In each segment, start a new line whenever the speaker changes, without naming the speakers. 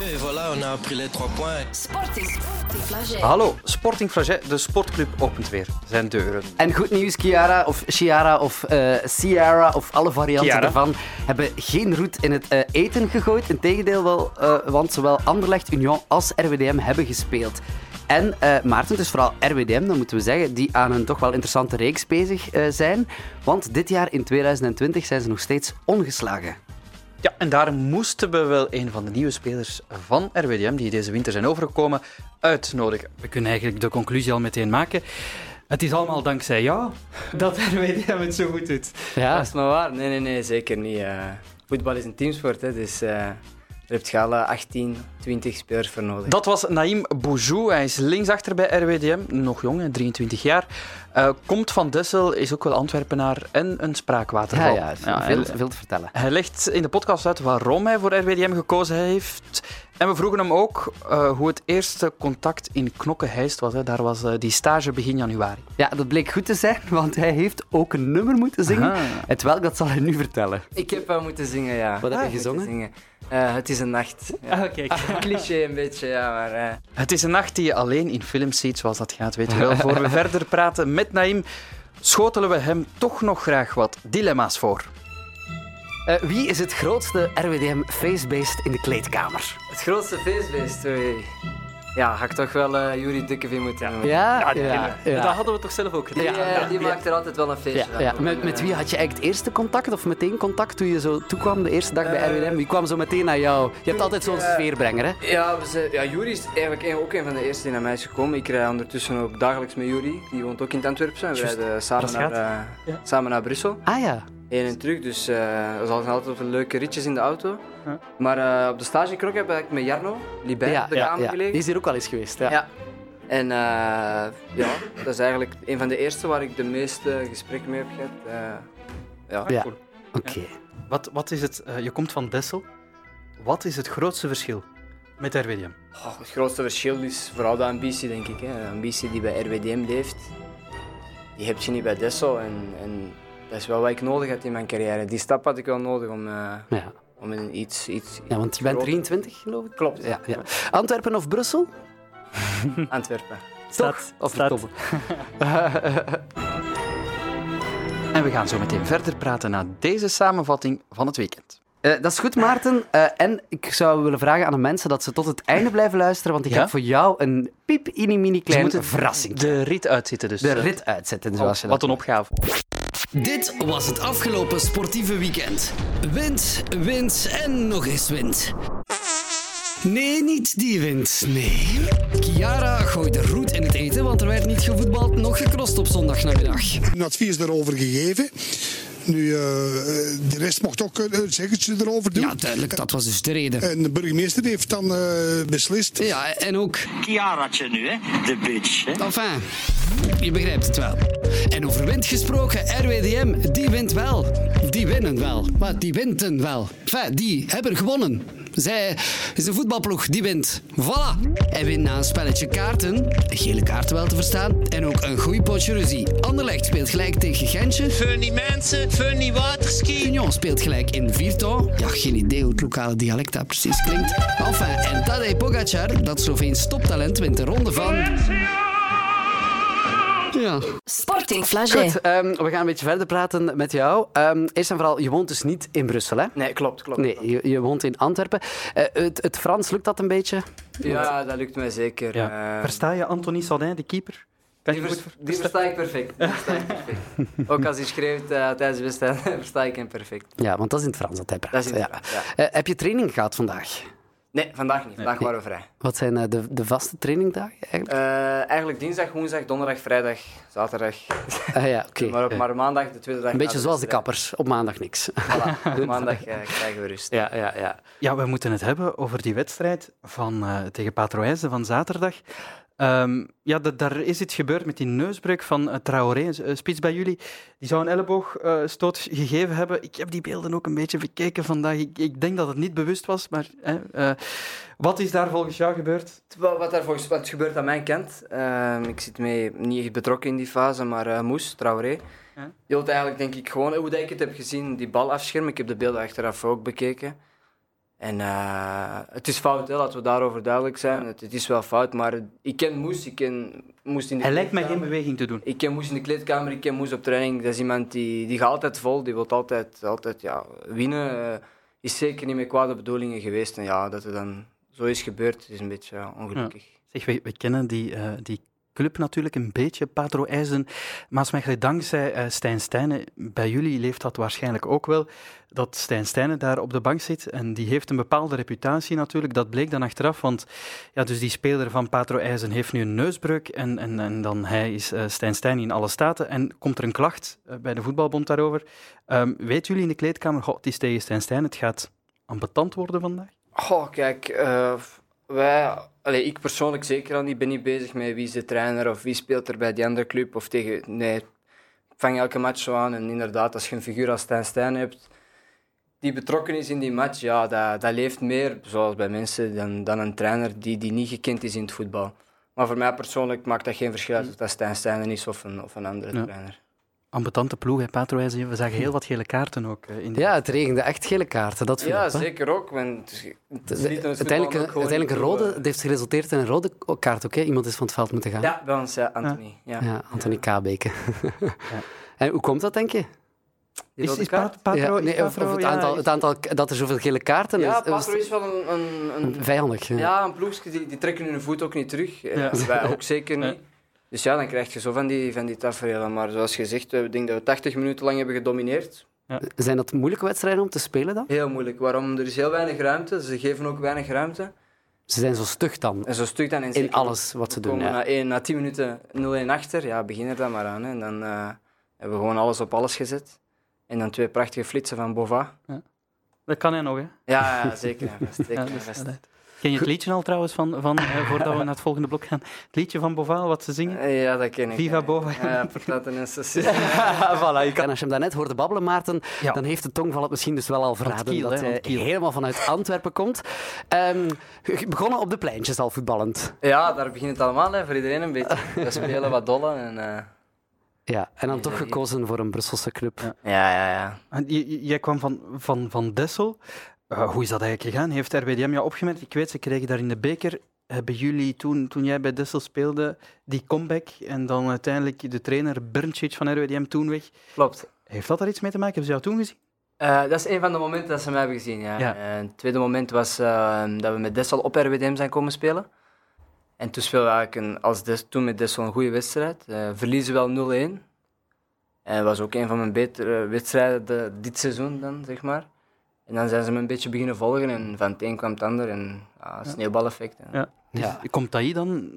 Et voilà, on a appris les trois points.
Sporting. Flagey.
Ah.
Hallo, Sporting Flagey, de sportclub, opent weer zijn deuren.
En goed nieuws, Chiara of Chiara of eh Ciara of alle varianten
Chiara.
daarvan hebben geen roet in het eh, eten gegooid. Integendeel wel, eh, want zowel Anderlecht, Union als RWDM hebben gespeeld. En eh, Maarten, het is vooral RWDM, dat moeten we zeggen, die aan een toch wel interessante reeks bezig eh, zijn. Want dit jaar in 2020 zijn ze nog steeds ongeslagen.
Ja, en daar moesten we wel een van de nieuwe spelers van RWDM, die deze winter zijn overgekomen, uitnodigen.
We kunnen eigenlijk de conclusie al meteen maken. Het is allemaal dankzij jou dat RWDM het zo goed doet.
Ja, dat is maar waar. Nee, nee, nee, zeker niet. Eh, voetbal is een teamsport, hè, dus eh daar heb je alle 18, 20 spelers voor nodig.
Dat was Naïm Boujou. Hij is linksachter bij RWDM, nog jong, hè, 23 jaar. Eh, komt van Dessel, is ook wel Antwerpenaar en een
Ja,
spraakwaterval.
ja,
hij,
veel, veel te vertellen.
hij legt in de podcast uit waarom hij voor RWDM gekozen heeft. En we vroegen hem ook eh, hoe het eerste contact in Knokkenheist was. Hè. Daar was eh, die stage begin januari.
Ja, dat bleek goed te zijn, want hij heeft ook een nummer moeten zingen. Het welk, dat zal hij nu vertellen.
Ik heb wel moeten zingen, ja. Ah,
Wat heb je
Ik heb
gezongen?
moeten zingen. Eh, het is een nacht. Ja.
kijk.
Cliché een beetje, ja, maar... eh,
Het is een nacht die je alleen in films ziet, zoals dat gaat, weet je wel. Voor we verder praten met Naïm, schotelen we hem toch nog graag wat dilemma's voor.
Eh, wie is het grootste RWDM facebased in de kleedkamer?
het grootste feestbeest, oei. Ja, ga ik toch wel eh Jury Dukkeveen moeten noemen.
Ja, ja,
Dat
ja.
hadden we toch zelf ook gedaan?
Die, eh, die maakt er altijd wel een feestje
Ja, ja.
van.
eh,
Eh,
Met, met wie had je eigenlijk het eerste contact of meteen contact toen je zo toekwam de eerste dag bij RWDM? Wie kwam zo meteen naar jou? Je hebt altijd zo'n
Eh, ik, eh,
sfeerbrenger, hè?
Ja, we zijn- ja, Juri is eigenlijk een- ook een van de eerste die naar mij is gekomen. Ik rij ondertussen ook dagelijks met Juri. Die woont ook in het Antwerpse. We rijden samen
dat
naar,
gaat.
eh, samen naar Brussel.
Ah ja.
Heen en terug, dus eh we zaten altijd op leuke ritjes in de auto. Maar eh, op de stage in Krok heb ik met Jarno, Libijn,
ja,
op de
ja,
kamer
ja. Die
gelegen.
is hier ook al eens geweest, ja.
Ja. En eh, ja, dat is eigenlijk een van de eerste waar ik de meeste gesprekken mee heb gehad. Eh, ja.
Ja. Oké.
Wat, wat is het? eh, je komt van Dessel. Wat is het grootste verschil met RWDM?
Oh, het grootste verschil is vooral de ambitie, denk ik. Hè. De ambitie die bij RWDM leeft, die heb je niet bij Dessel. En, en dat is wel wat ik nodig had in mijn carrière. Die stap had ik wel nodig om, eh,
Ja.
om in iets... iets
ja, want je bent
groter-
23, geloof ik?
Klopt,
Ja, ja. Antwerpen of Brussel? Hm.
Antwerpen.
Toch? Of
staat-
Toppen?
En we gaan zo meteen verder praten na deze samenvatting van het weekend.
Eh, dat is goed, Maarten. Eh, en ik zou willen vragen aan de mensen dat ze tot het einde blijven luisteren, want ik
Ja?
heb voor jou een piep mini mini klein
moeten
verrassing.
De rit uitzitten dus.
De
eh,
rit
Oh,
uitzetten, zoals je dat
Wat een opgave.
Dit was het afgelopen sportieve weekend. Wind, wind en nog eens wind. Nee, niet die wind, nee. Chiara gooide roet in het eten, want er werd niet gevoetbald, nog gecrossed op zondagnamiddag.
een advies daarover gegeven. Nu, eh, de rest mocht ook eh, een zeggetje erover doen.
Ja, duidelijk, dat was dus de reden.
En de burgemeester heeft dan eh, beslist.
Ja, en ook...
Chiaraatje nu, hè? De bitch. Hè?
Enfin, je begrijpt het wel. En over wind gesproken, RWDM, die wint wel. Die winnen wel. Maar die winten wel. Enfin, die hebben gewonnen. Zij is een voetbalploeg, die wint. Voilà. En wint na een spelletje kaarten, gele kaarten wel te verstaan, en ook een goeie potje ruzie. Anderlecht speelt gelijk tegen Gentje.
Funny mensen, funny waterski.
Union speelt gelijk in Virton. Ja, geen idee hoe het lokale dialect daar precies klinkt. Enfin, en Tadej Pogacar, dat Sloveens toptalent, wint de ronde van... Ja,
Sporting Flagey.
Goed, ehm, we gaan een beetje verder praten met jou. Ehm, eerst en vooral, je woont dus niet in Brussel, hè?
Nee, klopt, klopt.
Nee, je, je woont in Antwerpen. Eh, het, het Frans, lukt dat een beetje?
Ja, dat lukt mij zeker. Eh,
Versta je Anthony Saldin, de keeper? Kan je
die,
goed
vers- die versta ik perfect. Die versta ik perfect. Ook als hij schreeuwt eh, tijdens de wedstrijd, versta ik hem perfect.
Ja, want dat is in het Frans dat hij praat.
Dat is in het
ja.
Frans,
Eh, heb je training gehad vandaag?
Nee, vandaag niet. Vandaag waren we vrij.
Wat zijn eh, de, de vaste trainingdagen eigenlijk?
Eh, eigenlijk dinsdag, woensdag, donderdag, vrijdag, zaterdag.
Ah, ja, oké.
Maar, dus, eh, op, maar maandag, de tweede dag.
Een beetje
na
zoals de
wedstrijd.
kappers, op maandag niks.
Voilà, op maandag eh, krijgen we rust.
Ja, ja, ja.
Ja, we moeten het hebben over die wedstrijd van, eh, tegen Patroijzen van zaterdag. Ehm, ja, da- daar is iets gebeurd met die neusbreuk van eh, Traoré, een s- eh, spits bij jullie. Die zou een elleboogstoot gegeven hebben. Ik heb die beelden ook een beetje bekeken vandaag. Ik, ik denk dat het niet bewust was, maar hè, eh, wat is daar volgens jou gebeurd?
Wat, wat, daar volgens, wat gebeurt aan mijn kant, ehm, ik zit mee niet echt betrokken in die fase, maar eh, Moes, Traoré,
Ja.
die eh, had eigenlijk denk ik gewoon, hoe dat ik het heb gezien, die bal afschermen. Ik heb de beelden achteraf ook bekeken. En eh, het is fout, hè, laten we daarover duidelijk zijn. Het, het is wel fout, maar ik ken Moes. Ik ken Moes in de
Hij lijkt mij geen
kleedkamer.
beweging te doen.
Ik ken Moes in de kleedkamer, ik ken Moes op training. Dat is iemand die, die gaat altijd vol, die wil altijd, altijd ja, winnen. Eh, is zeker niet met kwade bedoelingen geweest. En ja, dat het dan zo is gebeurd, is een beetje ja, ongelukkig.
Zeg, we, we kennen die, eh, die club natuurlijk een beetje, Patro IJzen. Maar Smechelen, dankzij eh, Stijn Stijnen, bij jullie leeft dat waarschijnlijk ook wel, dat Stijn Stijnen daar op de bank zit. En die heeft een bepaalde reputatie natuurlijk. Dat bleek dan achteraf, want ja, dus die speler van Patro IJzen heeft nu een neusbreuk. En, en, en dan hij is eh Stijn Stijn in alle staten. En komt er een klacht eh, bij de voetbalbond daarover. Ehm weten jullie in de kleedkamer, god, het is tegen Stijn Stijn, het gaat ambetant worden vandaag?
Goh, kijk, eh, wij, allee, ik persoonlijk zeker al niet, ben niet bezig met wie is de trainer of wie speelt er bij die andere club of tegen. Nee, ik vang elke match zo aan en inderdaad, als je een figuur als Stijn Stijn hebt die betrokken is in die match, ja, dat, dat leeft meer, zoals bij mensen, dan, dan een trainer die, die niet gekend is in het voetbal. Maar voor mij persoonlijk maakt dat geen verschil
Mm.
uit of dat Stijn Stijn is of een, of een andere
Ja.
trainer.
Ambetante ploeg, hè, Patro IJzen. We zagen heel wat gele kaarten ook eh, in die
Ja, het regende echt gele kaarten. Dat viel
Ja,
op, hè.
zeker ook. Want het is niet in het voetbal
Eh, Uiteindelijk,
ook
een-
gewoon
uiteindelijk een
niet hoe,
rode,
eh,
het heeft geresulteerd in een rode kaart ook. Hè? Iemand is van het veld moeten gaan.
Ja, bij ons, ja, Anthony. Ja.
Ja, Anthony Kabeke. En hoe komt dat, denk je?
Die
Is,
rode
is
kaart?
Pat- Patro,
Ja,
is
nee, of, of
Patro-
het,
ja,
aantal,
is-
het aantal k- dat er zoveel gele kaarten
Ja,
is, was
Patro is wel een, een, een,
vijandig. Ja.
ja, een ploegje, die, die trekken hun voet ook niet terug. Eh, Wij ook zeker niet. Dus ja, dan krijg je zo van die, van die tafereelen. Maar zoals gezegd, eh, ik denk dat we 80 minuten lang hebben gedomineerd.
Zijn dat moeilijke wedstrijden om te spelen dan?
Heel moeilijk. Waarom? Er is heel weinig ruimte. Ze geven ook weinig ruimte.
Ze zijn zo stug dan,
En zo stuk dan
in alles wat ze
We
doen.
komen
Ja.
na, 1, na 10 minuten 0-1 achter. Ja, begin er dan maar aan. Hè. En dan eh, hebben we gewoon alles op alles gezet. En dan twee prachtige flitsen van Bova.
Dat kan hij nog, hè?
Ja, ja, zeker. en vast, zeker en
Ja,
vast.
Ken je het liedje al trouwens, van, van, eh, voordat we naar het volgende blok gaan? Het liedje van Bovaal, wat ze zingen?
Eh, Ja, dat ken ik.
Viva
ja.
Bova.
Ja, patat en SSC.
En als je hem daarnet hoorde babbelen, Maarten,
Ja.
dan heeft de tongval het misschien dus wel al verraden
Kiel,
dat
hè, want
hij
Kiel.
helemaal vanuit Antwerpen komt. Ehm, g- begonnen op de pleintjes al voetballend.
Ja, daar begint het allemaal hè, voor iedereen een beetje. We spelen wat dollen en... eh,
Ja, en dan toch gekozen voor een Brusselse club.
Ja, ja, ja.
En j- j- Eh, Jij kwam van, van, van Dessel. Eh, hoe is dat eigenlijk gegaan? Heeft RWDM jou opgemerkt? Ik weet, ze kregen daar in de beker... Hebben jullie toen, toen jij bij Dessel speelde, die comeback en dan uiteindelijk de trainer Berncic van RWDM toen weg?
Klopt.
Heeft dat daar iets mee te maken? Hebben ze jou toen gezien?
Eh, dat is een van de momenten dat ze mij hebben gezien, ja.
Ja.
En het tweede moment was eh, dat we met Dessel op RWDM zijn komen spelen. En toen speelden we eigenlijk een, als Des, toen met Dessel een goede wedstrijd. Eh, verliezen wel 0-1. En dat was ook een van mijn betere wedstrijden de- dit seizoen dan, zeg maar. En dan zijn ze me een beetje beginnen volgen en van het een kwam het ander en ah, sneeuwbaleffect. En,
Ja.
Ja.
Dus Komt hij dan,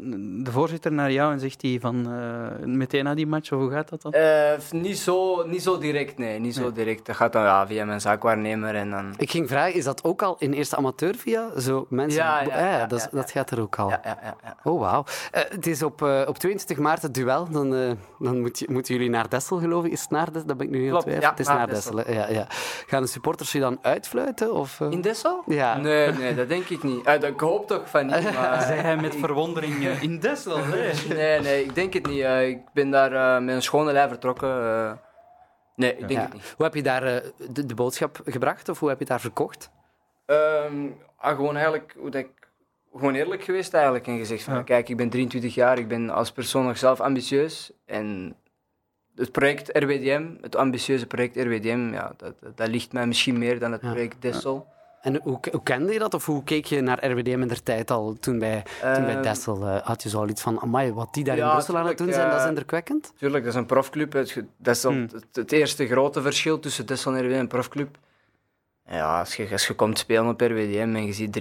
de voorzitter, naar jou en zegt hij van eh, meteen na die match, of hoe gaat dat dan?
Eh, niet, zo, niet zo direct, nee. Niet zo direct. Dat gaat dan ja, via mijn zaakwaarnemer en dan...
Ik ging vragen, is dat ook al in eerste amateur via? Zo mensen...
Ja, ja,
Ah,
ja,
dat, is-
ja,
dat gaat er ook al.
Ja, ja, ja, ja.
Oh, wauw. Eh, het is op, eh, op 22 maart het duel. Dan, eh, dan moet je, moeten jullie naar Dessel, geloof ik. Is het naar Dessel? Dat ben ik nu heel
Klopt,
twijfel.
ja,
het is
naar
naar Dessel. hè. Ja, ja. Gaan de supporters je dan uitfluiten? Of, eh?
In Dessel?
Ja.
Nee, nee, dat denk ik niet. Eh, dat- ik hoop toch van niet, maar...
Eh, Zei hij met verwondering eh, in Dessel. hè?
Nee, nee, ik denk het niet. Eh, ik ben daar eh, met een schone lijn vertrokken. eh. nee, ik denk
Ja.
het niet.
Hoe heb je daar eh, de, de boodschap gebracht? Of hoe heb je het daar verkocht?
Ehm, ah, gewoon eigenlijk, hoe dat ik, gewoon eerlijk geweest eigenlijk en gezegd van, kijk, ik ben 23 jaar, ik ben als persoon nog zelf ambitieus en het project RWDM, het ambitieuze project RWDM, ja, dat, dat, dat ligt mij misschien meer dan het
Ja.
project Dessel.
En hoe, hoe kende je dat? Of hoe keek je naar RWDM in der tijd al? Toen bij, toen bij
Ehm,
Dessel eh, had je zo al iets van... Amai, wat die daar in
Ja,
Brussel aan het doen
tuurlijk,
zijn, dat is
eh,
indrukwekkend.
Tuurlijk, dat is een profclub. Het, ge- dat is al
Hmm.
het, het eerste grote verschil tussen Dessel en RWDM en een profclub. Ja, als je, als je komt spelen op RWDM en je ziet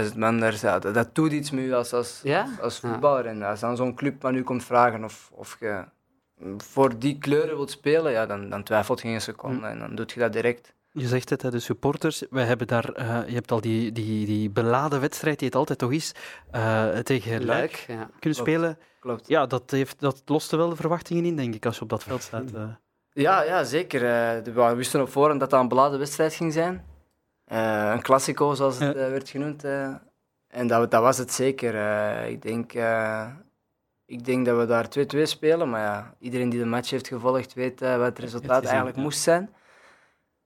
3.000, 4.000 man daar staan, dat, dat doet iets met je als, als,
Ja?
als, als voetballer. En als dan zo'n club aan u komt vragen of, of je voor die kleuren wilt spelen, ja, dan, dan twijfelt je geen
Hmm.
seconde en dan doe je dat direct.
Je zegt het, hè, de supporters. Wij hebben daar, eh, je hebt al die, die, die beladen wedstrijd die het altijd toch is, eh, tegen Luik
Leuk, ja.
kunnen spelen.
Klopt.
Ja, dat, heeft, dat loste wel de verwachtingen in, denk ik, als je op dat veld staat. eh.
Ja, ja zeker. Eh, de- we wisten op voorhand dat dat een beladen wedstrijd ging zijn. Eh, een klassico, zoals het eh, werd genoemd. eh. En dat, dat was het zeker. Eh, ik, denk, eh, ik denk dat we daar 2-2 spelen. Maar ja, iedereen die de match heeft gevolgd weet eh, wat het resultaat
is een-
eigenlijk moest zijn.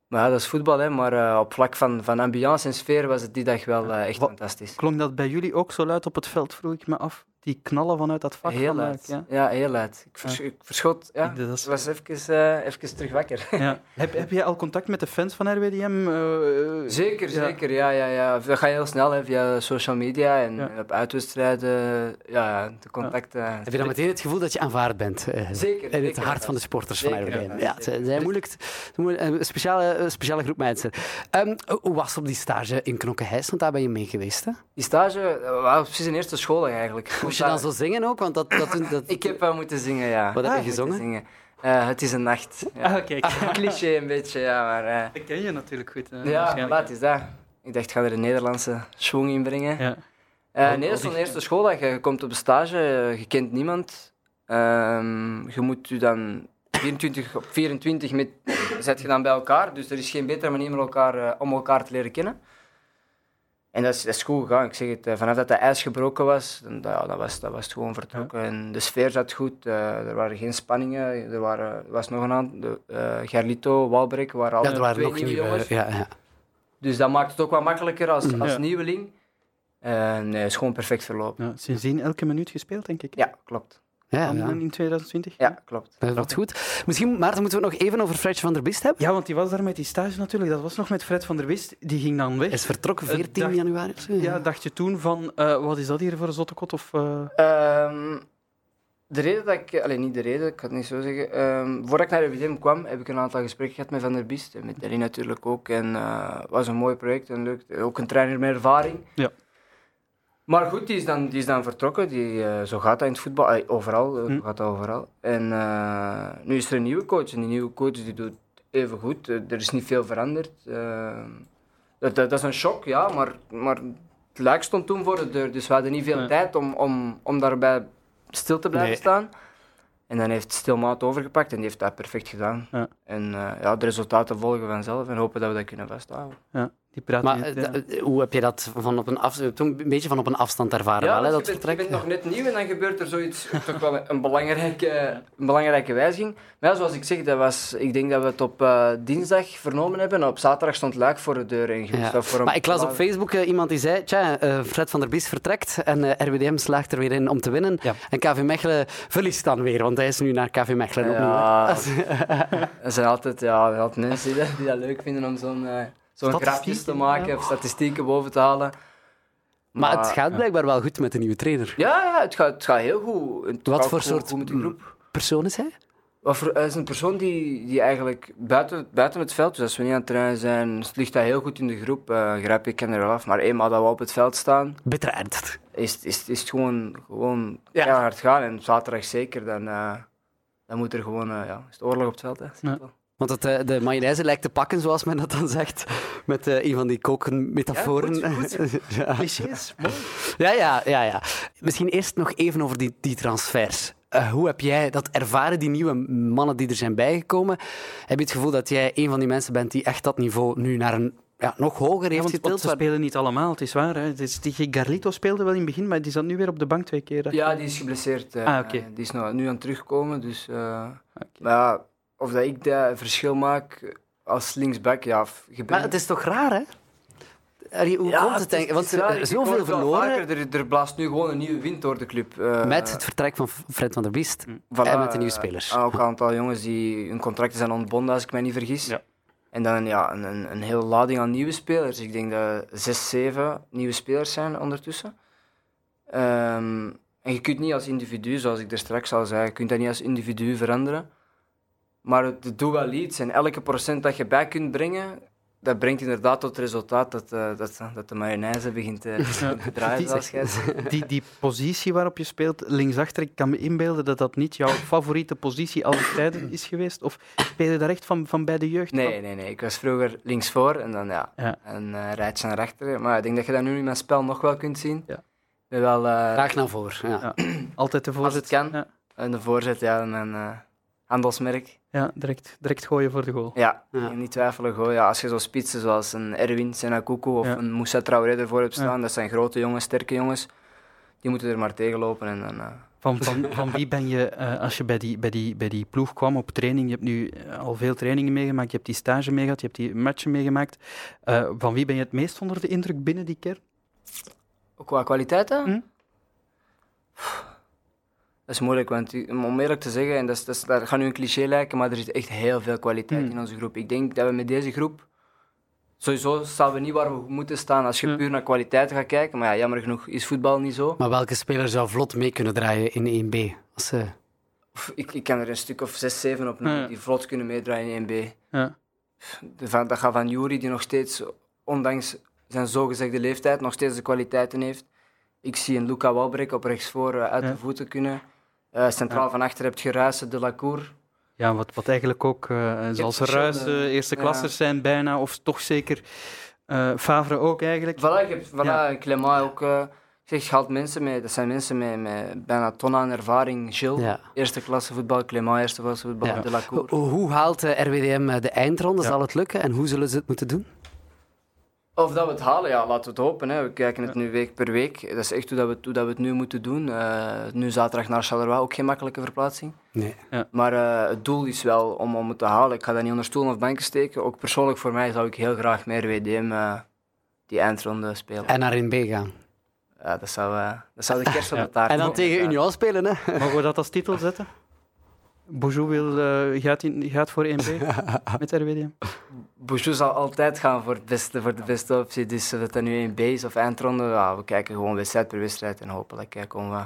Maar ja, dat is voetbal, hè. Maar eh, op vlak van, van ambiance en sfeer was het die dag wel eh, echt
Wa-
fantastisch.
Klonk dat bij jullie ook zo luid op het veld, vroeg ik me af. Die knallen vanuit dat vak.
Heel
vanuit,
luid. Ja.
eh, ja.
heel luid. Ik, vers- ik verschot. Ja,
Ik- dat is-
ik was even, eh, even terug wakker.
Ja. Heb, heb jij al contact met de fans van RWDM? Eh, eh,
Zeker,
ja.
zeker. Ja, ja, ja. Dat ga je heel snel hè, via social media en,
Ja.
en op uitwedstrijden. Ja, de contacten.
Heb je dan meteen het gevoel dat je aanvaard bent? eh,
Zeker,
In het
zeker.
hart van de sporters van
Zeker,
RWDM.
ja.
Ja, het eh, zijn- zijn moeilijk. moeilijk- eh, Een speciale, een speciale groep mensen. Ehm, hoe was het op die stage in Knokkenheist? Want daar ben je mee geweest, hè?
Die stage eh, was precies een eerste school eigenlijk.
Moest je dan zo zingen ook? Want dat... dat, dat
Ik heb wel moeten zingen, ja.
Wat heb je
Ik heb
gezongen?
moeten zingen. Eh, het is een nacht. Ja.
Ah, kijk.
Cliché een beetje, ja, maar... eh,
Dat ken je natuurlijk goed. eh,
ja,
waarschijnlijk.
laat is dat. Ik dacht, ik ga er een Nederlandse schwung in brengen.
Ja.
Eh, nee, dat is zo'n eerste schooldag. Je komt op stage, eh, je kent niemand. Ehm, je moet je dan 24 op 24 met, zet je dan bij elkaar. Dus er is geen betere manier om elkaar, eh, om elkaar te leren kennen. En dat is, dat is goed gegaan. Ik zeg het, eh, vanaf dat de ijs gebroken was, dan, dat, ja, dat was, dat was het gewoon vertrokken. En de sfeer zat goed, eh, er waren geen spanningen. Er waren, was nog een aantal, eh Gerlito, Walbrek, waren al
ja, er waren
twee
nog eh, nieuwe...
jongens.
Ja, ja.
Dus dat maakt het ook wat makkelijker als, als
Ja.
nieuweling. Eh, nee, het is gewoon perfect verlopen.
Ja, sindsdien elke minuut gespeeld, denk ik.
Ja, klopt.
ja,
Aan-
ja.
In 2020.
Ja, klopt.
Dat wordt goed. Misschien, Maarten, moeten we het nog even over Fredje van der Bist hebben?
Ja, want die was daar met die stage natuurlijk. Dat was nog met Fred van der Wist. Die ging dan weg.
Is vertrokken
Eh,
14
dag-
januari of zo?
Ja, dacht je toen van, eh, wat is dat hier voor een zottekot? Of, eh,
Ehm, de reden dat ik... Allee, niet de reden, ik kan het niet zo zeggen. Ehm, voordat ik naar RWDM kwam, heb ik een aantal gesprekken gehad met Van der Biest. En met Danny natuurlijk ook. En eh, het was een mooi project. En leuk, ook een trainer met ervaring.
Ja.
Maar goed, die is dan, die is dan vertrokken. Die, eh, zo gaat dat in het voetbal. Allee, overal, eh, zo gaat dat overal. En eh, nu is er een nieuwe coach. En die nieuwe coach die doet even goed. Eh, er is niet veel veranderd. Ehm, dat, dat, dat is een shock, ja. Maar, maar het luik stond toen voor de deur. Dus we hadden niet veel
Nee.
tijd om, om, om daarbij stil te blijven
Nee.
staan. En dan heeft Stilmaat overgepakt en die heeft dat perfect gedaan.
Ja.
En eh, ja, de resultaten volgen vanzelf en hopen dat we dat kunnen vasthouden.
ja, die praat
Maar
niet,
eh,
ja.
d- hoe heb je dat van op een, af, toen een beetje van op een afstand ervaren? wel, hè, dat
dus je, bent, je
vertrek?
bent nog net nieuw en dan gebeurt er zoiets, toch wel een belangrijke, een belangrijke wijziging. Maar ja, zoals ik zeg, dat was, ik denk dat we het op eh, dinsdag vernomen hebben. En op zaterdag stond Luik voor de deur. En je wist
Ja.
dat voor een
Maar ik las op
blauwe-
Facebook eh, iemand die zei: Tja, eh, Fred van der Bies vertrekt en eh, RWDM slaagt er weer in om te winnen.
Ja.
En KV Mechelen verliest dan weer, want hij is nu naar KV Mechelen
Ja.
opnieuw. hè.
Er zijn altijd, ja, er zijn altijd mensen die dat, die dat leuk vinden om zo'n eh, zo'n grapjes te maken of statistieken boven te halen.
maar het gaat blijkbaar wel goed met de nieuwe trainer.
Ja, ja het, gaat, het gaat heel goed. Het
Wat
gaat
voor
gewoon
soort
goed met die groep.
persoon is hij?
Wat voor, hij is een persoon die, die eigenlijk buiten, buiten het veld, dus als we niet aan het trainen zijn, ligt hij heel goed in de groep. Eh grijp ik ken er wel af, maar eenmaal dat we op het veld staan,
Bitter ernst.
is, het- is, het- is het gewoon, gewoon
Ja.
heel hard gaan. En zaterdag zeker, dan, eh, dan moet er gewoon eh, ja, is het oorlog op het veld. Hè. Simpel.
Want het, eh, de mayonaise lijkt te pakken, zoals men dat dan zegt, met eh, een van die kokenmetaforen.
Ja, goed,
ja.
Clichés, mooi.
Ja, ja, ja, ja. Misschien eerst nog even over die, die transfers. Eh, hoe heb jij dat ervaren, die nieuwe mannen die er zijn bijgekomen? Heb je het gevoel dat jij een van die mensen bent die echt dat niveau nu naar een ja, nog hoger
Ja,
heeft
want, want
getild?
ze
Waar-
spelen niet allemaal, het is waar. Hè. Het is, die Garlito speelde wel in het begin, maar die zat nu weer op de bank twee keer. dacht ik.
Ja, die is geblesseerd. eh,
Ah, oké.
Die is nou, nu aan het terugkomen. Dus, eh, Maar ja, of dat ik dat verschil maak als linksback, ja, f- je
Maar
bent-
het is toch raar, hè? Arie, hoe
Ja,
komt het
is-
eigenlijk? Want
is raar.
er
Ik
is
hoor
zoveel
het wel
verloren
vaker. Er, er blaast nu gewoon een nieuwe wind door de club. eh,
met het vertrek van Fred van der Biest.
voilà,
en met de nieuwe
eh,
spelers.
en ook een aantal jongens die hun contracten zijn ontbonden, als ik mij niet vergis.
Ja.
En dan ja, een, een, een hele lading aan nieuwe spelers. Ik denk dat zes, zeven nieuwe spelers zijn ondertussen. Ehm, en je kunt niet als individu, zoals ik er straks al zei, je kunt dat niet als individu veranderen. Maar het het doet wel iets. En elke procent dat je bij kunt brengen, dat brengt inderdaad tot het resultaat dat, eh, dat, dat de mayonaise begint te, te draaien.
Die-
Zoals jij zegt.
Die, die positie waarop je speelt, linksachter, ik kan me inbeelden dat dat niet jouw favoriete positie alle tijden is geweest. Of speel je daar echt van, van bij de jeugd?
Nee, nee, nee. Ik was vroeger linksvoor en dan ja,
Ja.
een eh, rijtje naar achteren. Maar ik denk dat je dat nu in mijn spel nog wel kunt zien.
Ja.
Ik ben wel eh,
Graag naar voren. Ja.
Ja. Altijd de voorzet.
Als het kan.
Ja,
een de voorzet, ja, mijn eh, handelsmerk.
ja direct, direct gooien voor de goal.
Ja,
Ja.
niet twijfelen. Goh, ja, als je zo spitsen zoals een Erwin Senakuku of
Ja.
een Moussa Traoré ervoor hebt
Ja.
staan, dat zijn grote jongens, sterke jongens. die moeten er maar tegenlopen. En dan, eh,
Van, van, van wie ben je, eh, als je bij die, bij, die, bij die ploeg kwam op training, je hebt nu eh, al veel trainingen meegemaakt, je hebt die stage meegehad, je hebt die matchen meegemaakt. Eh, van wie ben je het meest onder de indruk binnen die kern?
ook qua kwaliteiten?
Hm?
Dat is moeilijk, want u- om eerlijk te zeggen, en dat, is, dat, is- dat gaat nu een cliché lijken, maar er zit echt heel veel kwaliteit in onze groep. Ik denk dat we met deze groep, sowieso staan we niet waar we moeten staan als je puur naar kwaliteit gaat kijken. Maar ja, jammer genoeg is voetbal niet zo.
Maar welke speler zou vlot mee kunnen draaien in 1B? Als eh, ze...
Pff, Ik, ik kan er een stuk of zes, zeven op noemen
Ja.
die vlot kunnen meedraaien in 1B.
Ja.
De- van- dat gaat van Jury, die nog steeds, ondanks zijn zogezegde leeftijd, nog steeds de kwaliteiten heeft. Ik zie een Luca Walbrek op rechtsvoor eh, uit
Ja.
de voeten kunnen. Eh, centraal van achter heb je Ruijsen, De Lacour.
Ja, wat, wat eigenlijk ook, eh zoals
verschillende-
Ruijs, eh, eerste
ja.
klassers zijn bijna, of toch zeker eh, Favre ook eigenlijk.
Voilà, je hebt voilà,
Ja.
Clément ook. eh, ik zeg, je haalt mensen mee, dat zijn mensen met, met bijna ton aan ervaring. Gilles,
Ja.
eerste klasse voetbal, Clément, eerste klasse voetbal,
Ja.
De Lacour.
Ho- Hoe haalt de RWDM eh, de eindronde? Zal het lukken? En hoe zullen ze het moeten doen?
Of dat we het halen, ja, laten we het hopen. Hè. We kijken het nu week per week. Dat is echt hoe, dat we, het- hoe dat we het nu moeten doen. Eh, nu zaterdag naar Charleroi, ook geen makkelijke verplaatsing.
Nee.
Maar eh, het doel is wel om, om het te halen. Ik ga dat niet onder stoelen of banken steken. Ook persoonlijk voor mij zou ik heel graag meer WDM eh, die eindronde spelen.
En naar 1B gaan.
Ja, dat, zou, eh, dat zou de kerst op de taart
En dan
zijn,
tegen
inderdaad.
Union spelen, hè?
Mogen we dat als titel zetten? Bourgeois wil, eh, gaat, in, gaat voor 1B met RWDM.
Bouchou zal altijd gaan voor, het beste, voor de beste optie. Dus of het dan nu in base of eindronde, ja, we kijken gewoon wedstrijd per wedstrijd. En hopelijk eh, komen we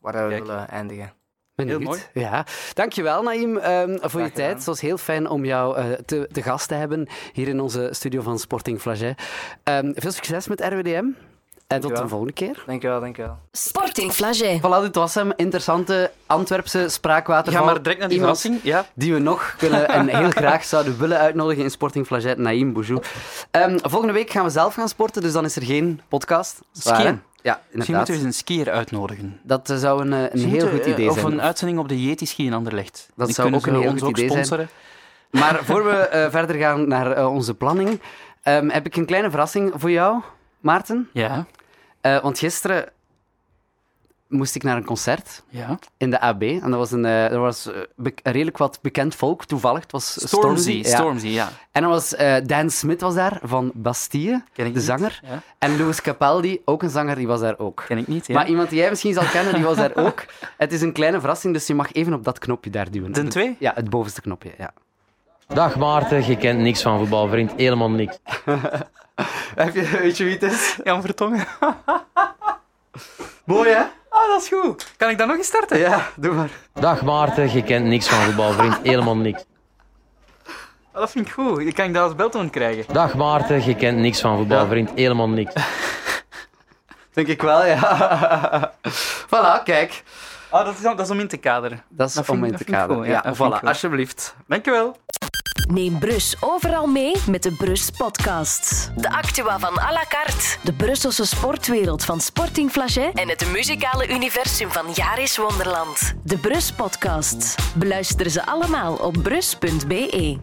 waar we
Kijk.
willen eindigen.
Benieuwd.
mooi.
Ja. Dankjewel, Naïm, ehm, voor je
gedaan.
tijd. Het was heel fijn om jou eh, te, te gast te hebben hier in onze studio van Sporting Flaget. Ehm, veel succes met RWDM. En tot de
Dankjewel.
volgende keer.
Dankjewel, dankjewel.
Sporting Flagey.
Voilà, dit was hem. Interessante Antwerpse spraakwaterval.
Ga maar direct naar die
Iemand
verrassing. Ja.
die we nog kunnen en heel graag zouden willen uitnodigen in Sporting Flaget, Naïm Boujou. Ehm, volgende week gaan we zelf gaan sporten, dus dan is er geen podcast. Dat is waar,
Skiën.
hè? Ja,
Misschien moeten we
inderdaad.
eens dus een skier uitnodigen.
Dat eh, zou een, eh, een heel goed idee
Of
zijn.
een uitzending op de Yeti ski in Anderlecht.
Dat zou ook een heel goed idee zijn. Maar voor we eh, verder gaan naar eh, onze planning, ehm, heb ik een kleine verrassing voor jou, Maarten.
Ja,
Eh, want gisteren moest ik naar een concert.
ja.
in de AB. En dat was een, eh, er was eh, bek- redelijk wat bekend volk, toevallig. Het was Stormzy.
Stormzy,
ja.
Stormzy, ja.
En dan was eh, Dan Smit was daar, van Bastille,
Ken
de
ik niet.
zanger.
Ja.
En Louis Capaldi, ook een zanger, die was daar ook.
Ken ik niet, ja.
Maar iemand die jij misschien zal kennen, die was daar ook. Het is een kleine verrassing, dus je mag even op dat knopje daar duwen.
Den twee?
Ja, het bovenste knopje, ja.
Dag Maarten, je kent niks van voetbal, vriend. Helemaal niks.
Heb je, weet je wie het is?
Jan Vertongen.
Mooi, hè?
Ah, dat is goed. Kan ik dat nog eens starten?
Ja, doe maar.
Dag Maarten, je kent niks van voetbal, vriend. Helemaal niks.
Ah, dat vind ik goed. Ik kan ik dat als beltoon krijgen.
Dag Maarten, je kent niks van voetbal,
Ja.
vriend. Helemaal niks.
Denk ik wel, ja. voilà, kijk.
Ah, dat is, dat is om in te kaderen.
Dat is
Dat vind
om
ik- dat
in te
vind ik
kaderen.
goed, ja,
Ja,
dat vind ik
voilà,
wel.
alsjeblieft.
Dankjewel.
Neem Brus overal mee met de Brus Podcasts. De actua van à la carte. De Brusselse sportwereld van Sporting Flagey. En het muzikale universum van Jaris Wonderland. De Brus Podcasts. Beluister ze allemaal op brus.be.